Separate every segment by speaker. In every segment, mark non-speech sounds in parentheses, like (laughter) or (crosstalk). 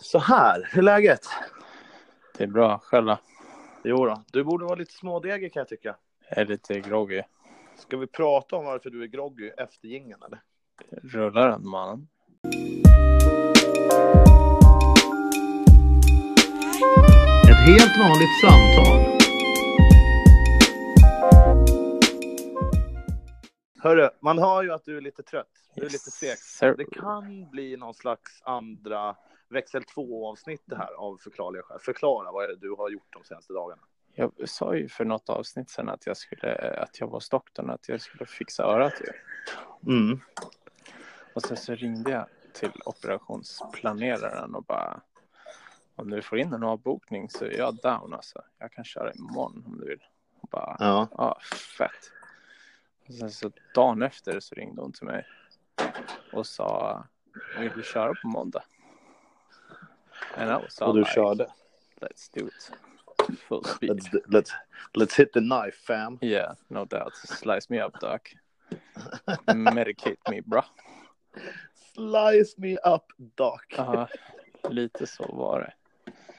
Speaker 1: Så här, hur är läget?
Speaker 2: Det är bra. Själv då?
Speaker 1: Jo då, du borde vara lite smådegig kan jag tycka.
Speaker 2: Jag är lite groggy.
Speaker 1: Ska vi prata om varför du är groggy efter jingeln eller?
Speaker 2: Rullar den mannen?
Speaker 3: Ett helt vanligt samtal.
Speaker 1: Hörru, man hör ju att du är lite trött. Du är lite seg.
Speaker 2: Sir.
Speaker 1: Det kan bli någon slags andra växel 2 avsnitt det här av förklarliga skäl. Förklara vad är det du har gjort de senaste dagarna.
Speaker 2: Jag sa ju för något avsnitt sen att jag skulle, att jag var hos doktorn, att jag skulle fixa örat ju.
Speaker 1: Mm.
Speaker 2: Och sen så ringde jag till operationsplaneraren och bara om du får in en avbokning så är jag down alltså. Jag kan köra imorgon om du vill. Och bara,
Speaker 1: Ja.
Speaker 2: ja, fett. Och sen så dagen efter så ringde hon till mig och sa, vill du köra på måndag? And I was all
Speaker 1: Och du
Speaker 2: like,
Speaker 1: körde.
Speaker 2: Let's do it. Full speed.
Speaker 1: Let's, let's, let's hit the knife fam.
Speaker 2: Yeah, no doubt. Slice me up, doc. Medicate me, bra.
Speaker 1: Slice me up doc.
Speaker 2: Ja, lite så var det.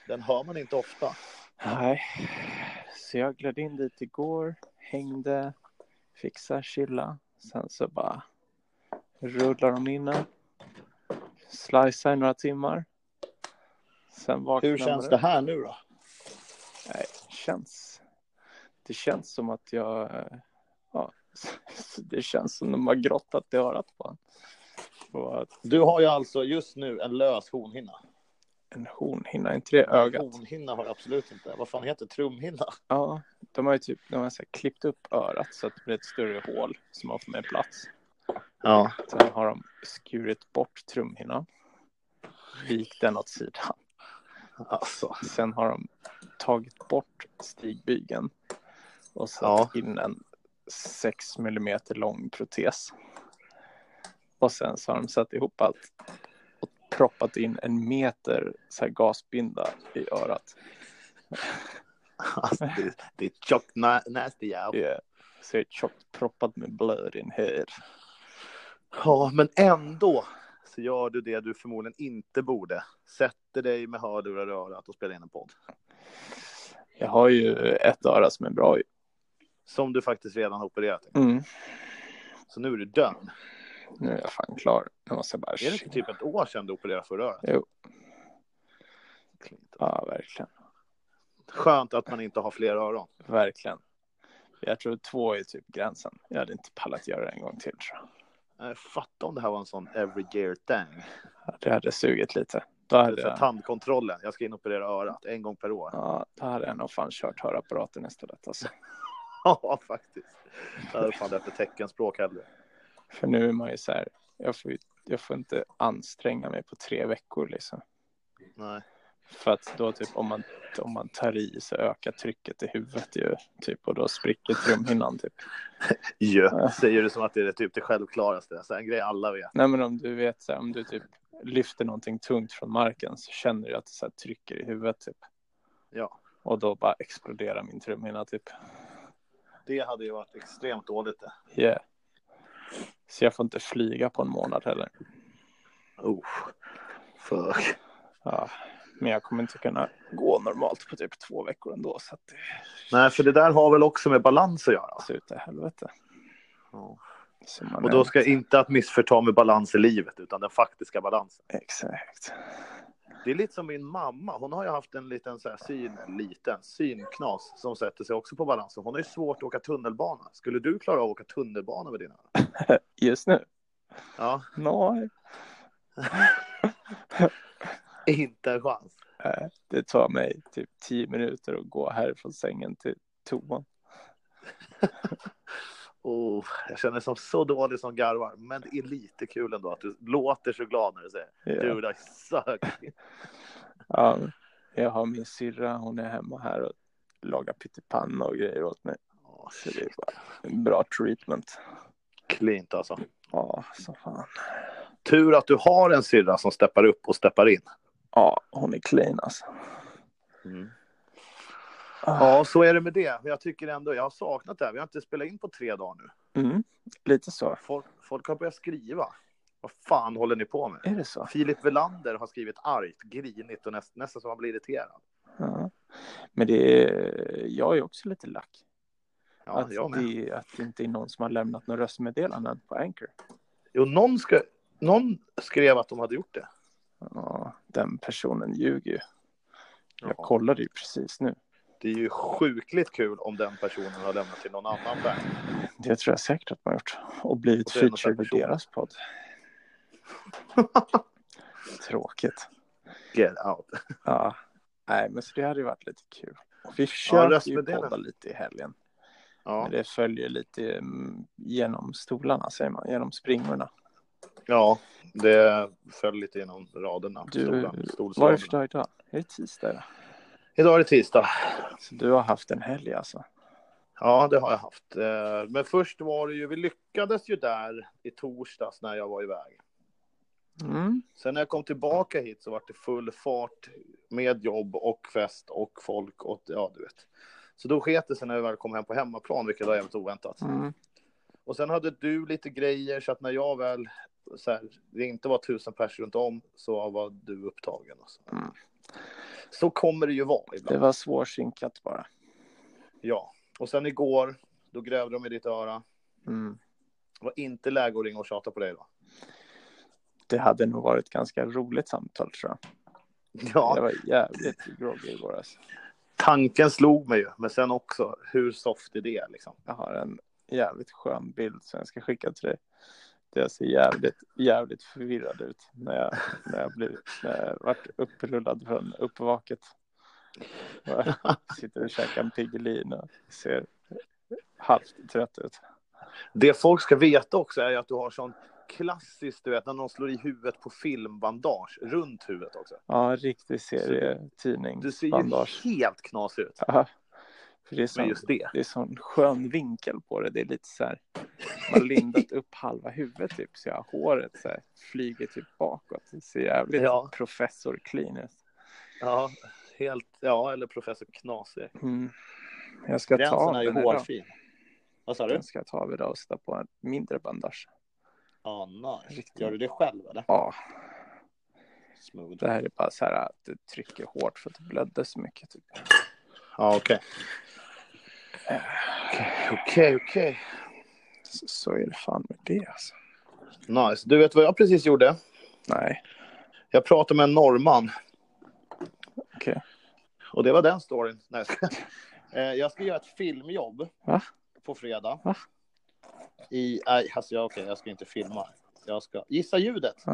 Speaker 1: Den hör man inte ofta.
Speaker 2: Nej, så jag gled in dit igår, hängde, fixa, chilla. Sen så bara rullar de in den. Slicear i några timmar. Sen vaknar
Speaker 1: Hur känns
Speaker 2: man
Speaker 1: det här nu då?
Speaker 2: Nej, känns. Det känns som att jag... eh, Ja, (laughs) det känns som de har grottat i örat på en. Och att
Speaker 1: Du har ju alltså just nu en lös hornhinna.
Speaker 2: en hornhinna, inte det ögat?
Speaker 1: Hornhinna har jag absolut inte. Vad fan heter trumhinna?
Speaker 2: Ja, de har ju typ de har så här klippt upp örat så att det blir ett större hål som har fått mer plats.
Speaker 1: Ja.
Speaker 2: Sen har de skurit bort trumhinnan, vikt den åt sidan.
Speaker 1: Alltså.
Speaker 2: Sen har de tagit bort stigbygeln och satt in en 6 mm lång protes. Och sen så har de satt ihop allt och proppat in en meter så här gasbinda i örat.
Speaker 1: alltså det, det är tjockt na- nasty jävel.
Speaker 2: Yeah. Så jag är tjockt proppad med blöd in här.
Speaker 1: Ja, men ändå så gör du det du förmodligen inte borde. Sätter dig med hörlurar i örat och spelar in en podd.
Speaker 2: Jag har ju ett öra som är bra ju.
Speaker 1: Som du faktiskt redan har opererat.
Speaker 2: Mm.
Speaker 1: Så nu är du dömd.
Speaker 2: Nu är jag fan klar. Nu måste jag bara...
Speaker 1: Är det inte typ ett år sedan du opererade förra örat?
Speaker 2: Jo. Ja, verkligen.
Speaker 1: Skönt att man inte har fler öron.
Speaker 2: Verkligen. Jag tror två är typ gränsen. Jag hade inte pallat göra det en gång till tror jag.
Speaker 1: Eh, Fatta om det här var en sån every year thing.
Speaker 2: Det hade sugit lite. Då hade,
Speaker 1: Det är så här
Speaker 2: jag,
Speaker 1: Tandkontrollen, jag ska in och operera örat en gång per år. (laughs)
Speaker 2: ja, då hade jag nog fan kört hörapparaten istället. Alltså.
Speaker 1: Ja, faktiskt. Det här är fan efter teckenspråk hellre.
Speaker 2: För nu är man ju så här, jag får, ju- jag får inte anstränga mig på tre veckor liksom.
Speaker 1: Nej.
Speaker 2: För att då typ om man, om man tar i så ökar trycket i huvudet ju. Typ och då spricker trumhinnan typ.
Speaker 1: Jö, säger du som att det är typ det självklaraste. Så här, en grej alla vet.
Speaker 2: Nej men om du vet så här, om du typ lyfter någonting tungt från marken så känner du att det så här trycker i huvudet typ.
Speaker 1: Ja.
Speaker 2: Och då bara exploderar min trumhinna typ.
Speaker 1: Det hade ju varit extremt dåligt det.
Speaker 2: Yeah. Så jag får inte flyga på en månad heller.
Speaker 1: Oh, fuck.
Speaker 2: Ja. Men jag kommer inte kunna gå normalt på typ två veckor ändå så att det
Speaker 1: Nej, för det där har väl också med balans att göra.
Speaker 2: ser ut i helvete.
Speaker 1: Ja.
Speaker 2: Som man
Speaker 1: Och då
Speaker 2: är-
Speaker 1: ska inte att missförta med balans i livet, utan den faktiska balansen.
Speaker 2: Exakt.
Speaker 1: Det är lite som min mamma. Hon har ju haft en liten så här syn, en liten synknas som sätter sig också på balansen. Hon har ju svårt att åka tunnelbana. Skulle du klara av att åka tunnelbana med dina?
Speaker 2: Just nu?
Speaker 1: Ja,
Speaker 2: Nej.
Speaker 1: inte en chans.
Speaker 2: Nej. Det tar mig typ tio minuter att gå härifrån sängen till toan.
Speaker 1: Oh, jag känner som så dålig som garvar, men det är lite kul ändå att du låter så glad när du säger
Speaker 2: Ja.
Speaker 1: Dude, I suck.
Speaker 2: Ja, jag har min syrra, hon är hemma här och lagar pyttipanna och grejer åt mig.
Speaker 1: Åh,
Speaker 2: Så det är bara en bra treatment.
Speaker 1: Klint alltså.
Speaker 2: Ja, så fan.
Speaker 1: Tur att du har en syrra som steppar upp och steppar in.
Speaker 2: Ja, hon är clean alltså. Mm. Ja.
Speaker 1: Ja, så är det med det. Jag tycker ändå, jag har saknat det här. Vi har inte spelat in på tre dagar nu.
Speaker 2: Mm, lite så.
Speaker 1: Folk, folk har börjat skriva. Vad fan håller ni på med?
Speaker 2: Är det så?
Speaker 1: Filip Velander har skrivit argt, grinigt och näst, nästan så man blir irriterad.
Speaker 2: Ja. Men det är, jag är också lite lack.
Speaker 1: Ja,
Speaker 2: att,
Speaker 1: jag med.
Speaker 2: Alltså, det, att det inte är någon som har lämnat några röstmeddelanden på Anchor.
Speaker 1: Jo, någon, ska, någon skrev att de hade gjort det.
Speaker 2: Ja, den personen ljuger ju. Jag
Speaker 1: Jaha.
Speaker 2: kollade ju precis nu.
Speaker 1: Det är ju sjukligt kul om den personen har lämnat till någon annan vän.
Speaker 2: Det tror jag säkert att man har gjort. Och blivit
Speaker 1: Och så är det någon
Speaker 2: featured
Speaker 1: sån här
Speaker 2: i
Speaker 1: person. (laughs)
Speaker 2: deras podd. Tråkigt.
Speaker 1: Get out.
Speaker 2: Ja. Nej, men så det hade ju varit lite kul. Och vi
Speaker 1: Ja,
Speaker 2: försöker ju
Speaker 1: röstmeddelande.
Speaker 2: podda lite i helgen.
Speaker 1: Ja,
Speaker 2: Men det följer lite mm, genom stolarna, säger man. Genom springorna.
Speaker 1: ja det föll lite genom raderna.
Speaker 2: Du,
Speaker 1: Stolen-
Speaker 2: Vad är det
Speaker 1: stolsraderna.
Speaker 2: för dag idag? Är det tisdag? idag?
Speaker 1: Idag är det tisdag.
Speaker 2: Så du har haft en helg alltså?
Speaker 1: Ja, det har jag haft. Eh, Men först var det ju, vi lyckades ju där i torsdags när jag var iväg.
Speaker 2: Mm.
Speaker 1: Sen när jag kom tillbaka hit så var det full fart med jobb och fest och folk och ja, du vet. Så då sket det sig när vi väl kom hem på hemmaplan, vilket var jävligt oväntat.
Speaker 2: Mm.
Speaker 1: Och sen hade du lite grejer så att när jag väl så här, det inte var tusen pers runt om så var du upptagen. Och så.
Speaker 2: Mm.
Speaker 1: så kommer det ju vara
Speaker 2: Det
Speaker 1: ibland.
Speaker 2: var svårsynkat bara.
Speaker 1: Ja, och sen igår då grävde de i ditt öra.
Speaker 2: Mm.
Speaker 1: Det var inte läge att ringa och tjata på dig då. (laughs)
Speaker 2: Det hade nog varit ett ganska roligt samtal tror jag.
Speaker 1: Ja,
Speaker 2: Jag var jävligt groggy igår alltså.
Speaker 1: tanken slog mig ju, men sen också hur soft är det liksom?
Speaker 2: Jag har en jävligt skön bild som jag ska skicka till dig. Där jag ser jävligt, jävligt förvirrad ut när jag, när jag blir, när jag vart upprullad från uppvaket. Och jag sitter och käkar en Piggelin och ser halvt trött ut.
Speaker 1: Det folk ska veta också är ju att du har sån klassiskt, du vet, när någon slår i huvudet på filmbandage runt huvudet också.
Speaker 2: Ja, en riktig
Speaker 1: Du ser ju
Speaker 2: serietidningsbandage.
Speaker 1: helt knasig ut
Speaker 2: Ja, för det är
Speaker 1: med
Speaker 2: sån,
Speaker 1: just det.
Speaker 2: det är sån skön vinkel på det. Det är lite så här, man har lindat upp halva huvudet typ, så jag har håret så här, flyger typ bakåt. Det ser jävligt
Speaker 1: Ja.
Speaker 2: professor clean ut.
Speaker 1: Ja, helt, ja, eller professor knasig.
Speaker 2: Mm. Jag ska ta
Speaker 1: Gränsen
Speaker 2: av
Speaker 1: är ju
Speaker 2: den här idag.
Speaker 1: hårfin. Vad sa du?
Speaker 2: Den ska jag ta av idag och sätta på en mindre bandage.
Speaker 1: Ja, nice.
Speaker 2: Riktigt.
Speaker 1: Gör du det själv eller?
Speaker 2: Ja,
Speaker 1: Smooth.
Speaker 2: det här är bara så här att det trycker hårt för att det blödde så mycket. Typ.
Speaker 1: Ja, okej. Okej, okej.
Speaker 2: Så, så är det fan med det alltså.
Speaker 1: Nice. Du vet vad jag precis gjorde?
Speaker 2: Nej,
Speaker 1: Jag pratade med en norrman
Speaker 2: okej.
Speaker 1: och det var den storyn. Nej, jag skojar. (laughs) Eh, jag ska göra ett filmjobb
Speaker 2: Va?
Speaker 1: på fredag.
Speaker 2: Va?
Speaker 1: I, nej, alltså, jag, okej, jag ska inte filma. Jag ska gissa ljudet.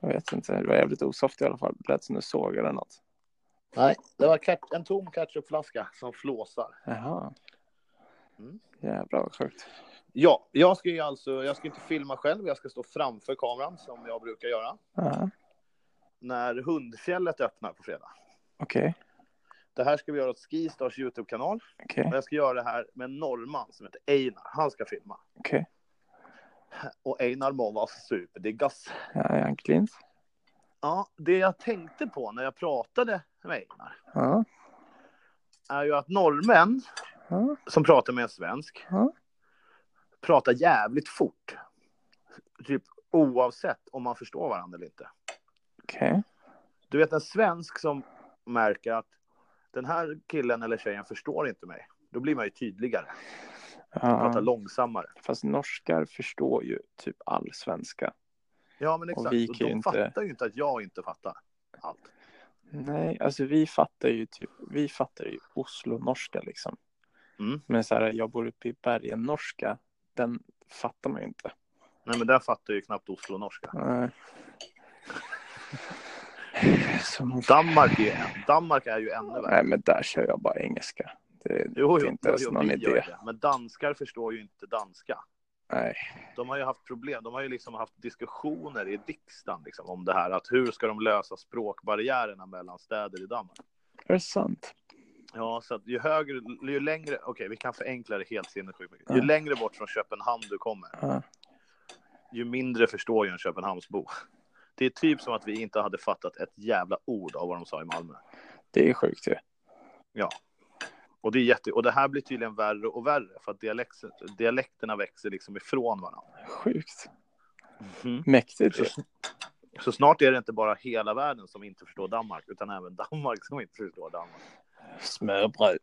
Speaker 2: Jag vet inte, det var jävligt osoft i alla fall. Det lät som du såg eller något.
Speaker 1: Nej, det var kat- en tom ketchupflaska som flåsar.
Speaker 2: Jaha.
Speaker 1: Mm.
Speaker 2: Jävlar vad sjukt.
Speaker 1: Ja, jag ska ju alltså, jag ska inte filma själv, jag ska stå framför kameran som jag brukar göra.
Speaker 2: Ja,
Speaker 1: När hundfjället öppnar på fredag.
Speaker 2: Okej, det
Speaker 1: Det här ska vi göra åt Skistars YouTube-kanal.
Speaker 2: okej,
Speaker 1: Och jag ska göra det här med en norrman som heter Einar. Han ska filma.
Speaker 2: okej.
Speaker 1: Och Einar må vara superdeggas.
Speaker 2: Ja, är han clean?
Speaker 1: Ja, det jag tänkte på när jag pratade med Einar
Speaker 2: Ja,
Speaker 1: är ju att norrmän
Speaker 2: ja.
Speaker 1: som pratar med en svensk
Speaker 2: Ja.
Speaker 1: pratar jävligt fort. Typ oavsett om man förstår varandra eller inte.
Speaker 2: okej.
Speaker 1: Du vet en svensk som märker att den här killen eller tjejen förstår inte mig. Då blir man ju tydligare, pratar
Speaker 2: Ja.
Speaker 1: långsammare.
Speaker 2: Fast norskar förstår ju typ all svenska.
Speaker 1: Ja, men exakt.
Speaker 2: vi
Speaker 1: Och
Speaker 2: kan
Speaker 1: de
Speaker 2: ju inte-
Speaker 1: fattar ju inte att jag inte fattar allt.
Speaker 2: Nej, alltså vi fattar ju typ, vi fattar ju Oslo-norska liksom.
Speaker 1: Mm.
Speaker 2: Men så här, jag bor uppe i bergen norska den fattar man ju inte.
Speaker 1: Nej, men där fattar ju knappt Oslo-norska.
Speaker 2: Nej. (laughs) Så man...
Speaker 1: Danmark är, ju en- Danmark är ju ännu värre.
Speaker 2: Nej, men där kör jag bara engelska. Det,
Speaker 1: Jo,
Speaker 2: det är
Speaker 1: jo,
Speaker 2: inte
Speaker 1: jo,
Speaker 2: ens
Speaker 1: jo,
Speaker 2: någon
Speaker 1: vi gör
Speaker 2: idé.
Speaker 1: det. Men danskar förstår ju inte danska.
Speaker 2: Nej.
Speaker 1: De har ju haft problem. De har ju liksom haft diskussioner i riksdagen liksom, om det här. Att hur ska de lösa språkbarriärerna mellan städer i Danmark?
Speaker 2: Är det sant?
Speaker 1: Ja, så att ju högre, ju längre, okej, vi kan förenkla det helt sinnessjukt mycket. Ju
Speaker 2: Ja.
Speaker 1: längre bort från Köpenhamn du kommer,
Speaker 2: Ja.
Speaker 1: ju mindre förstår ju en Köpenhamnsbo. Det är typ som att vi inte hade fattat ett jävla ord av vad de sa i Malmö.
Speaker 2: Det är sjukt ju.
Speaker 1: Ja. Och det, är jätte, och det här blir tydligen värre och värre för att dialekt, dialekterna växer liksom ifrån varandra.
Speaker 2: Sjukt.
Speaker 1: Mhm.
Speaker 2: Mäktigt ju.
Speaker 1: Så snart är det inte bara hela världen som inte förstår Danmark utan även (laughs) Danmark som inte förstår Danmark.
Speaker 2: Smörbröd.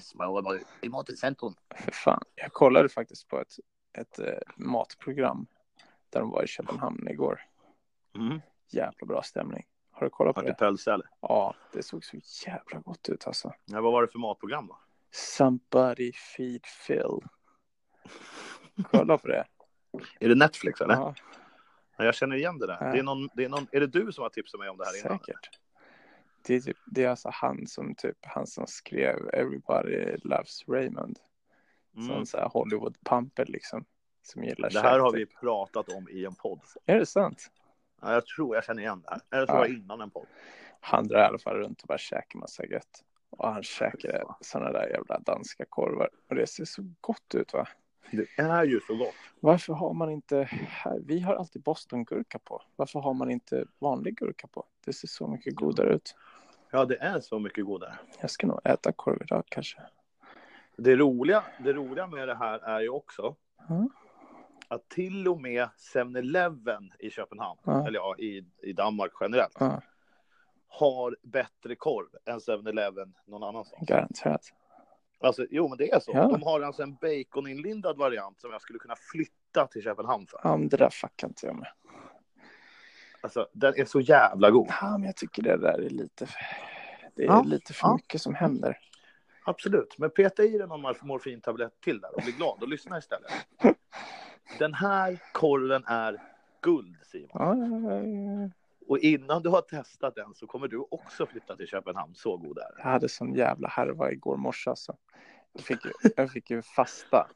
Speaker 1: Smörrebröd i matens centrum.
Speaker 2: För fan. Jag kollade faktiskt på ett, ett eh, matprogram där de var i Köpenhamn igår.
Speaker 1: Mm.
Speaker 2: Jävla bra stämning. Har du kollat på
Speaker 1: Har du
Speaker 2: det?
Speaker 1: pölsa eller?
Speaker 2: Ja, det såg så jävla gott ut alltså.
Speaker 1: Ja, vad var det för matprogram då?
Speaker 2: Somebody feed Phil. Kolla
Speaker 1: (laughs)
Speaker 2: på det.
Speaker 1: Är det Netflix eller?
Speaker 2: Ja,
Speaker 1: Ja, jag känner igen det där.
Speaker 2: Ja.
Speaker 1: Det är, någon, det är, någon, är det du som har tipsat mig om det här innan?
Speaker 2: säkert. Det är, typ, det är alltså han som typ, han som skrev Everybody Loves Raymond.
Speaker 1: Mm.
Speaker 2: Som så här Hollywood-pamper liksom. Som gillar
Speaker 1: Det här
Speaker 2: käk,
Speaker 1: har vi
Speaker 2: typ.
Speaker 1: pratat om i en podd.
Speaker 2: Är det sant?
Speaker 1: Ja, jag tror jag känner igen det här. Eller så var det innan en podd.
Speaker 2: Han drar i alla fall runt och bara käkar massa gött. Och han käkar sådana där jävla danska korvar. Och det ser så gott ut va?
Speaker 1: Det är ju så gott.
Speaker 2: Varför har man inte här? Vi har alltid bostongurka på. Varför har man inte vanlig gurka på? Det ser så mycket godare ut.
Speaker 1: Ja, det är så mycket godare.
Speaker 2: Jag ska nog äta korv idag kanske.
Speaker 1: Det roliga, det roliga med det här är ju också
Speaker 2: Mm.
Speaker 1: att till och med 7-Eleven i Köpenhamn,
Speaker 2: Ja.
Speaker 1: eller ja, i, i Danmark generellt,
Speaker 2: Ja,
Speaker 1: har bättre korv än 7-Eleven någon annanstans.
Speaker 2: garanterat.
Speaker 1: Alltså, jo, men det är så.
Speaker 2: Ja.
Speaker 1: De har alltså en baconinlindad variant som jag skulle kunna flytta till Köpenhamn för.
Speaker 2: Ja, men det där fuckar inte jag med.
Speaker 1: Alltså, den är så jävla god.
Speaker 2: Ja, men jag tycker det där är lite för... Det är
Speaker 1: Ja,
Speaker 2: lite för
Speaker 1: ja.
Speaker 2: mycket som händer.
Speaker 1: Absolut, men peta i dig någon morf- morfintablett till där och bli glad och lyssna (laughs) istället. Den här korven är guld, Simon.
Speaker 2: Ja, ja, ja.
Speaker 1: Och innan du har testat den så kommer du också flytta till Köpenhamn. Så god är den.
Speaker 2: jag hade sån jävla härva igår morse alltså. Jag fick ju, jag fick ju fasta,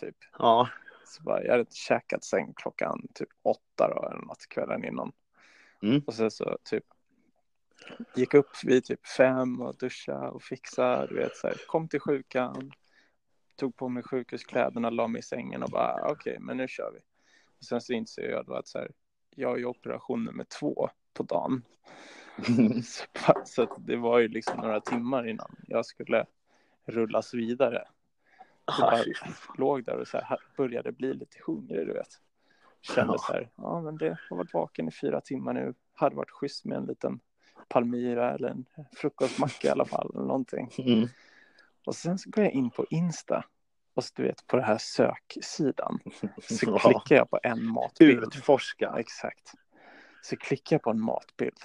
Speaker 2: typ.
Speaker 1: (laughs) Ja,
Speaker 2: Så bara, jag hade inte käkat sen klockan typ åtta då, eller något kvällen innan.
Speaker 1: Mm.
Speaker 2: Och sen så typ gick upp vid typ fem och duscha och fixa, du vet så här, kom till sjukan, tog på mig sjukhuskläderna, la mig i sängen och bara okej, men nu kör vi. Och sen så inser jag då att så här, jag har ju operation nummer två på dagen. (laughs) så bara- så att det var ju liksom några timmar innan jag skulle rullas vidare
Speaker 1: Ah, fy
Speaker 2: låg där och så här, började bli lite hungrig, du vet. Kände
Speaker 1: Ja.
Speaker 2: så här, ja men det har varit vaken i fyra timmar nu. Hade varit schysst med en liten Palmyra eller en frukostmacka i alla fall, eller någonting.
Speaker 1: Mm.
Speaker 2: Och sen så går jag in på Insta och så, du vet på den här söksidan så
Speaker 1: (laughs) Ja.
Speaker 2: klickar jag på en matbild. Ja,
Speaker 1: Utforska.
Speaker 2: exakt. Så klickar jag på en matbild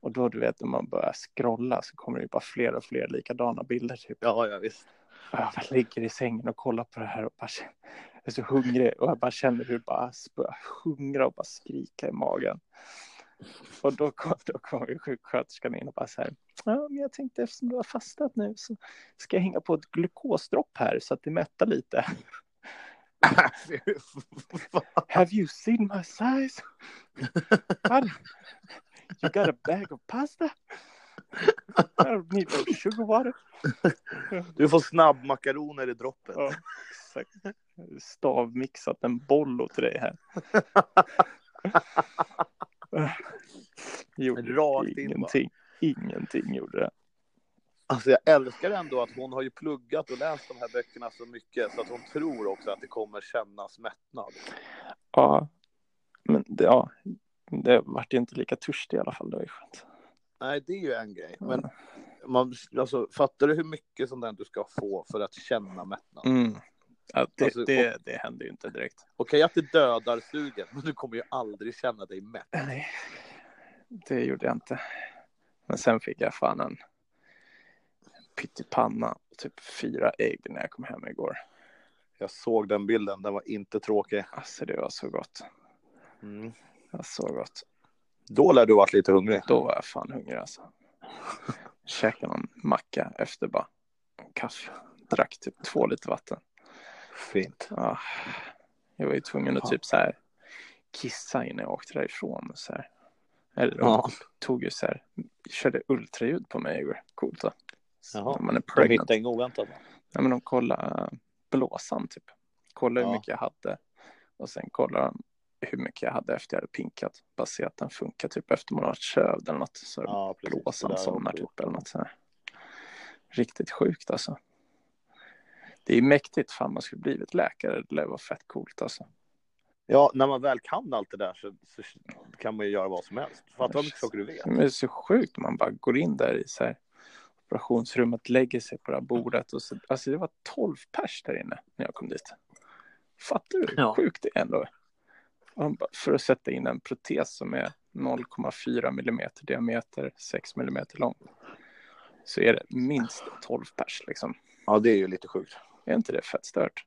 Speaker 2: och då du vet när man börjar scrolla så kommer det ju bara fler och fler likadana bilder typ.
Speaker 1: Ja, ja, visst. (laughs)
Speaker 2: Och jag bara ligger i sängen och kollar på det här och bara känner, jag är så hungrig och jag bara känner hur det bara börjar hungra och bara skrika i magen. Och då kom, då kom ju sjuksköterskan in och bara så här, ja men jag tänkte eftersom du har fastat nu så ska jag hänga på ett glukosdropp här så att det mättar lite.
Speaker 1: Fy fan.
Speaker 2: Have you seen my size? What? You got a bag of pasta? I need some sugar water.
Speaker 1: du får snabbmakaroner i droppet.
Speaker 2: Ja, exakt. Stavmixat en bollo till
Speaker 1: (laughs)
Speaker 2: dig här. gjorde
Speaker 1: Rakt in bara.
Speaker 2: ingenting. Ingenting gjorde det.
Speaker 1: Alltså jag älskar ändå att hon har ju pluggat och läst de här böckerna så mycket så att hon tror också att det kommer kännas mättnad.
Speaker 2: Ja, men det, ja, det vart ju inte lika törstig i alla fall. Det var ju skönt.
Speaker 1: Nej, det är ju en grej. Men
Speaker 2: Ja.
Speaker 1: man, alltså, fattar du hur mycket sånt där du ska få för att känna mättnad?
Speaker 2: Mm. Ja, det,
Speaker 1: Alltså,
Speaker 2: det, det hände ju inte direkt.
Speaker 1: Okej att det dödar sugen, men du kommer ju aldrig känna dig mätt.
Speaker 2: Nej, det gjorde jag inte. Men sen fick jag fan en pyttipanna och typ fyra ägg när jag kom hem igår.
Speaker 1: Jag såg den bilden, den var inte tråkig. Mm.
Speaker 2: Alltså det var så gott. Det var så gott.
Speaker 1: Då lär du varit lite hungrig.
Speaker 2: Då var jag fan hungrig alltså. Käkade någon macka efter bara. Kaffe. Drack typ två liter vatten.
Speaker 1: Fint.
Speaker 2: Ja. Jag var ju tvungen att
Speaker 1: Ja.
Speaker 2: typ så här kissa innan jag åkte därifrån. Så här. Eller
Speaker 1: Ja.
Speaker 2: tog ju så här, körde ultraljud på mig igår. Coolt va? Så
Speaker 1: Jaha.
Speaker 2: När man är
Speaker 1: De
Speaker 2: pregnant.
Speaker 1: hittade en oväntat.
Speaker 2: Nej, men de kollar eh, blåsan typ. Kollar hur
Speaker 1: Ja.
Speaker 2: mycket jag hade. Och sen kollar de hur mycket jag hade efter jag hade pinkat. Bara se att den funkar typ efter man har varit sövd eller något. Så
Speaker 1: Ja, precis.
Speaker 2: blåsan
Speaker 1: Det där
Speaker 2: somnar
Speaker 1: också.
Speaker 2: typ eller något så här. Riktigt sjukt alltså. Det är mäktigt. Fan, man skulle blivit läkare. Det lär vara fett coolt alltså.
Speaker 1: Ja, när man väl kan allt det där så, så kan man ju göra vad som helst. Fatta vad mycket saker du vet.
Speaker 2: Men det är så sjukt. Man bara går in där i så här operationsrummet, lägger sig på det här bordet och så. Alltså det var 12 pers där inne när jag kom dit. Fattar du hur
Speaker 1: Ja.
Speaker 2: sjukt det är ändå? Man bara, För att sätta in en protes som är 0,4 millimeter diameter, 6 millimeter lång. Så är det minst 12 pers liksom.
Speaker 1: Ja, det är ju lite sjukt.
Speaker 2: Är inte det fett stört?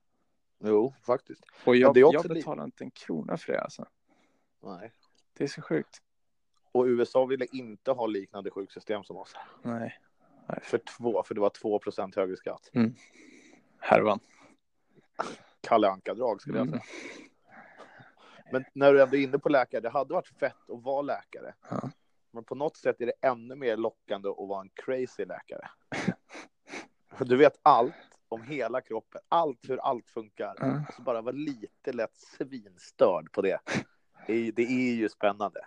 Speaker 1: Jo, faktiskt. Ja,
Speaker 2: Och jag,
Speaker 1: det är
Speaker 2: jag
Speaker 1: också li-
Speaker 2: betalar inte en krona för det alltså.
Speaker 1: Nej.
Speaker 2: Det är så sjukt.
Speaker 1: Och USA ville inte ha liknande sjuksystem som oss.
Speaker 2: Nej,
Speaker 1: För två, för det var 2 högre skatt.
Speaker 2: härvan.
Speaker 1: Kalle Anka-drag skulle jag
Speaker 2: Mm.
Speaker 1: säga. Men när du ändå är inne på läkare, det hade varit fett att vara läkare.
Speaker 2: Ja.
Speaker 1: Men på något sätt är det ännu mer lockande att vara en crazy läkare. Du vet allt om hela kroppen, allt hur allt funkar.
Speaker 2: Ja.
Speaker 1: Och så bara vara lite lätt svinstörd på det. Det är, det är ju spännande.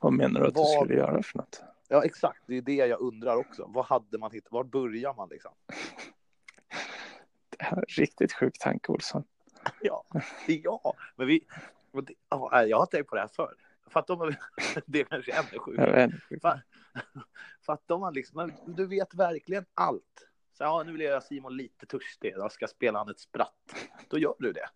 Speaker 2: Vad menar du att du
Speaker 1: Vad-
Speaker 2: skulle göra för något?
Speaker 1: Ja, exakt. Det är det jag undrar också. Vad hade man hittat? Var börjar man liksom? (laughs)
Speaker 2: Det här är riktigt sjuk tanke, Olsson.
Speaker 1: Ja, ja. men vi... och det- ja, nej, Jag har tänkt på det här förr. Fattar om man... (laughs) Det är kanske ännu
Speaker 2: Jag
Speaker 1: sjukare.
Speaker 2: vet inte.
Speaker 1: Fattar om man liksom... men Du vet verkligen allt. Så, ja, nu vill jag göra Simon lite törstig. Jag ska spela han ett spratt. Då gör du det.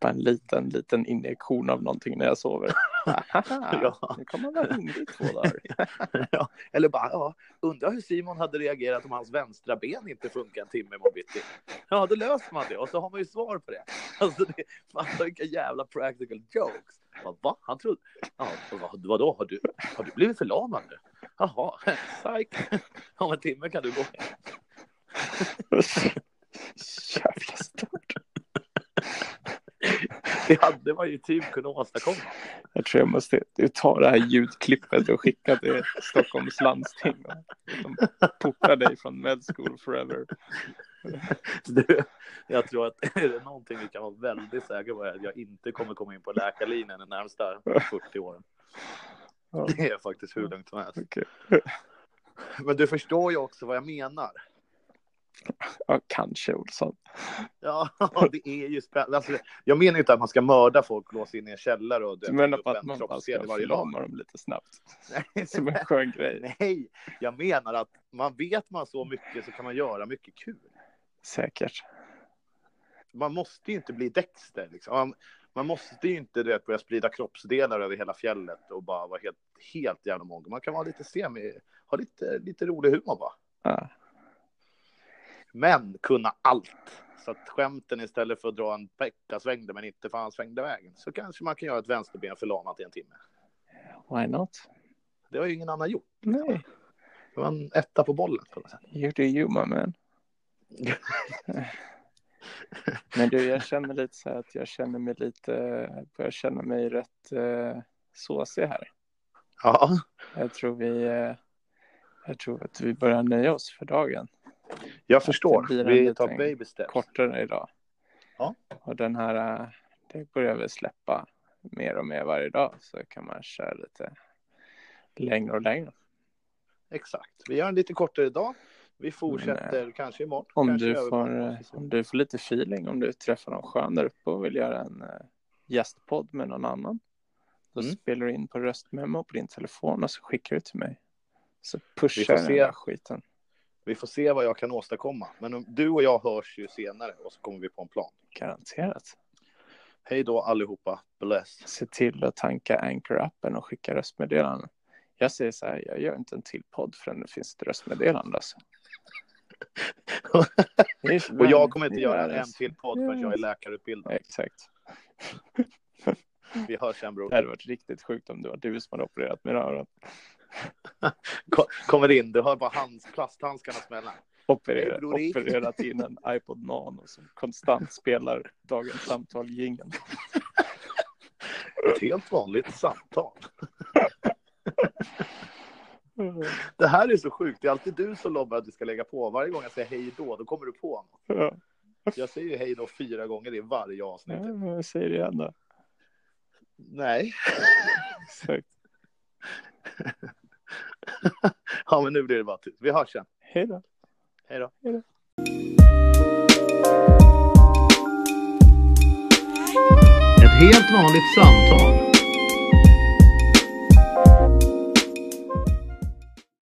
Speaker 2: Bara en liten, liten injektion av någonting när jag (laughs) sover. Aha,
Speaker 1: (laughs) Ja.
Speaker 2: nu kommer man vara hungrig i två (laughs) dagar.
Speaker 1: (laughs) Ja. Eller bara, ja, undrar hur Simon hade reagerat om hans vänstra ben inte funkar en timme imorgon bitti. Ja, då löser man det och så har man ju svar på det. Alltså, det fattar vilka jävla practical jokes. Bara, va? Han trodde... Ja, vad, vadå, har du, har du blivit förlamad nu? Jaha, psyk. Om en timme kan du gå.
Speaker 2: Jävla stört.
Speaker 1: Det hade man ju typ kunnat åstadkomma.
Speaker 2: Jag tror jag måste ta det här ljudklippet och skicka till Stockholms landsting. De portar dig från med school (laughs) forever.
Speaker 1: Du, jag tror att är det någonting vi kan vara väldigt säkra på är att jag inte kommer komma in på läkarlinjen de närmsta 40 åren.
Speaker 2: Ja,
Speaker 1: Det är faktiskt hur lugnt som helst.
Speaker 2: okej.
Speaker 1: Men du förstår ju också vad jag menar.
Speaker 2: ja, kanske Olsson.
Speaker 1: Ja, (laughs) det är ju spännande. Alltså, jag menar ju inte att man ska mörda folk, låsa in i en källare och
Speaker 2: Du
Speaker 1: döda
Speaker 2: menar
Speaker 1: upp
Speaker 2: på att
Speaker 1: en
Speaker 2: man alltså, bara
Speaker 1: kroppsdel
Speaker 2: ska
Speaker 1: i varje dag?
Speaker 2: förlama dem lite snabbt?
Speaker 1: Nej,
Speaker 2: (laughs) Som en skön grej.
Speaker 1: Nej, jag menar att man vet man så mycket så kan man göra mycket kul.
Speaker 2: Säkert.
Speaker 1: Man måste ju inte bli Dexter. Liksom. Man, man måste ju inte du vet, börja sprida kroppsdelar över hela fjället och bara vara helt, helt jävla mongo. Man kan vara lite semi, ha lite, lite rolig humor bara.
Speaker 2: Ja.
Speaker 1: Men kunna allt. Så att skämten istället för att dra en pekka svängde men inte fan svängde vägen. Så kanske man kan göra ett vänsterben förlamat i en timme.
Speaker 2: Why not?
Speaker 1: Det har ju ingen annan gjort.
Speaker 2: Nej,
Speaker 1: Det var en etta på bollen. På något sätt.
Speaker 2: you do you my man.
Speaker 1: (laughs)
Speaker 2: Men du, jag känner lite så här att jag känner mig lite, jag känner mig rätt eh, såsig här.
Speaker 1: Ja,
Speaker 2: Jag tror vi, eh, jag tror att vi börjar nöja oss för dagen.
Speaker 1: jag
Speaker 2: Det
Speaker 1: förstår.
Speaker 2: blir en
Speaker 1: Vi
Speaker 2: liten
Speaker 1: tar baby steps.
Speaker 2: Kortare idag.
Speaker 1: Ja.
Speaker 2: Och den här, eh, det börjar vi släppa mer och mer varje dag. Så kan man köra lite längre och längre.
Speaker 1: Exakt. Vi gör en lite kortare idag. Vi fortsätter kanske imorgon.
Speaker 2: eh, Om
Speaker 1: kanske
Speaker 2: du,
Speaker 1: övermorgon.
Speaker 2: får, eh, om du får lite feeling, om du träffar någon skön där uppe och vill göra en eh, gästpodd med någon annan. Då
Speaker 1: Mm.
Speaker 2: spelar du in på röstmemo på din telefon och så skickar du till mig. Så pushar
Speaker 1: får
Speaker 2: jag den
Speaker 1: se.
Speaker 2: där skiten.
Speaker 1: Vi får se vad jag kan åstadkomma. Men om- du och jag hörs ju senare och så kommer vi på en plan.
Speaker 2: Garanterat.
Speaker 1: Hej då allihopa. Bless.
Speaker 2: Se till att tanka Anchor-appen och skicka röstmeddelanden. Jag säger så här, jag gör inte en till podd förrän det finns ett röstmeddelande.
Speaker 1: (laughs)
Speaker 2: Alltså. Det är-
Speaker 1: Och jag kommer inte
Speaker 2: det är-
Speaker 1: göra en till podd förrän jag är
Speaker 2: Yes.
Speaker 1: läkarutbildad.
Speaker 2: Exakt.
Speaker 1: Vi hörs sen bror.
Speaker 2: Det hade varit riktigt sjukt om det var du som hade opererat mina öron.
Speaker 1: Ko- Kommer in, du hör bara hands, plasthandskarna smälla.
Speaker 2: Operera,
Speaker 1: Hej, bror Erik.
Speaker 2: opererat in en iPod Nano som konstant spelar dagens samtal
Speaker 1: (laughs)
Speaker 2: jingeln.
Speaker 1: Ett helt vanligt samtal. Det här är så sjukt. Det är alltid du som lobbar att du ska lägga på. Varje gång jag säger hej då, då kommer du på något.
Speaker 2: Ja,
Speaker 1: Jag säger ju hej då fyra gånger i varje avsnitt.
Speaker 2: men jag säger det igen då.
Speaker 1: Nej.
Speaker 2: Exakt.
Speaker 1: Ja, men nu blir det bara tyst. Vi hörs sen.
Speaker 2: Hej då. Hej då.
Speaker 1: Ett helt vanligt samtal.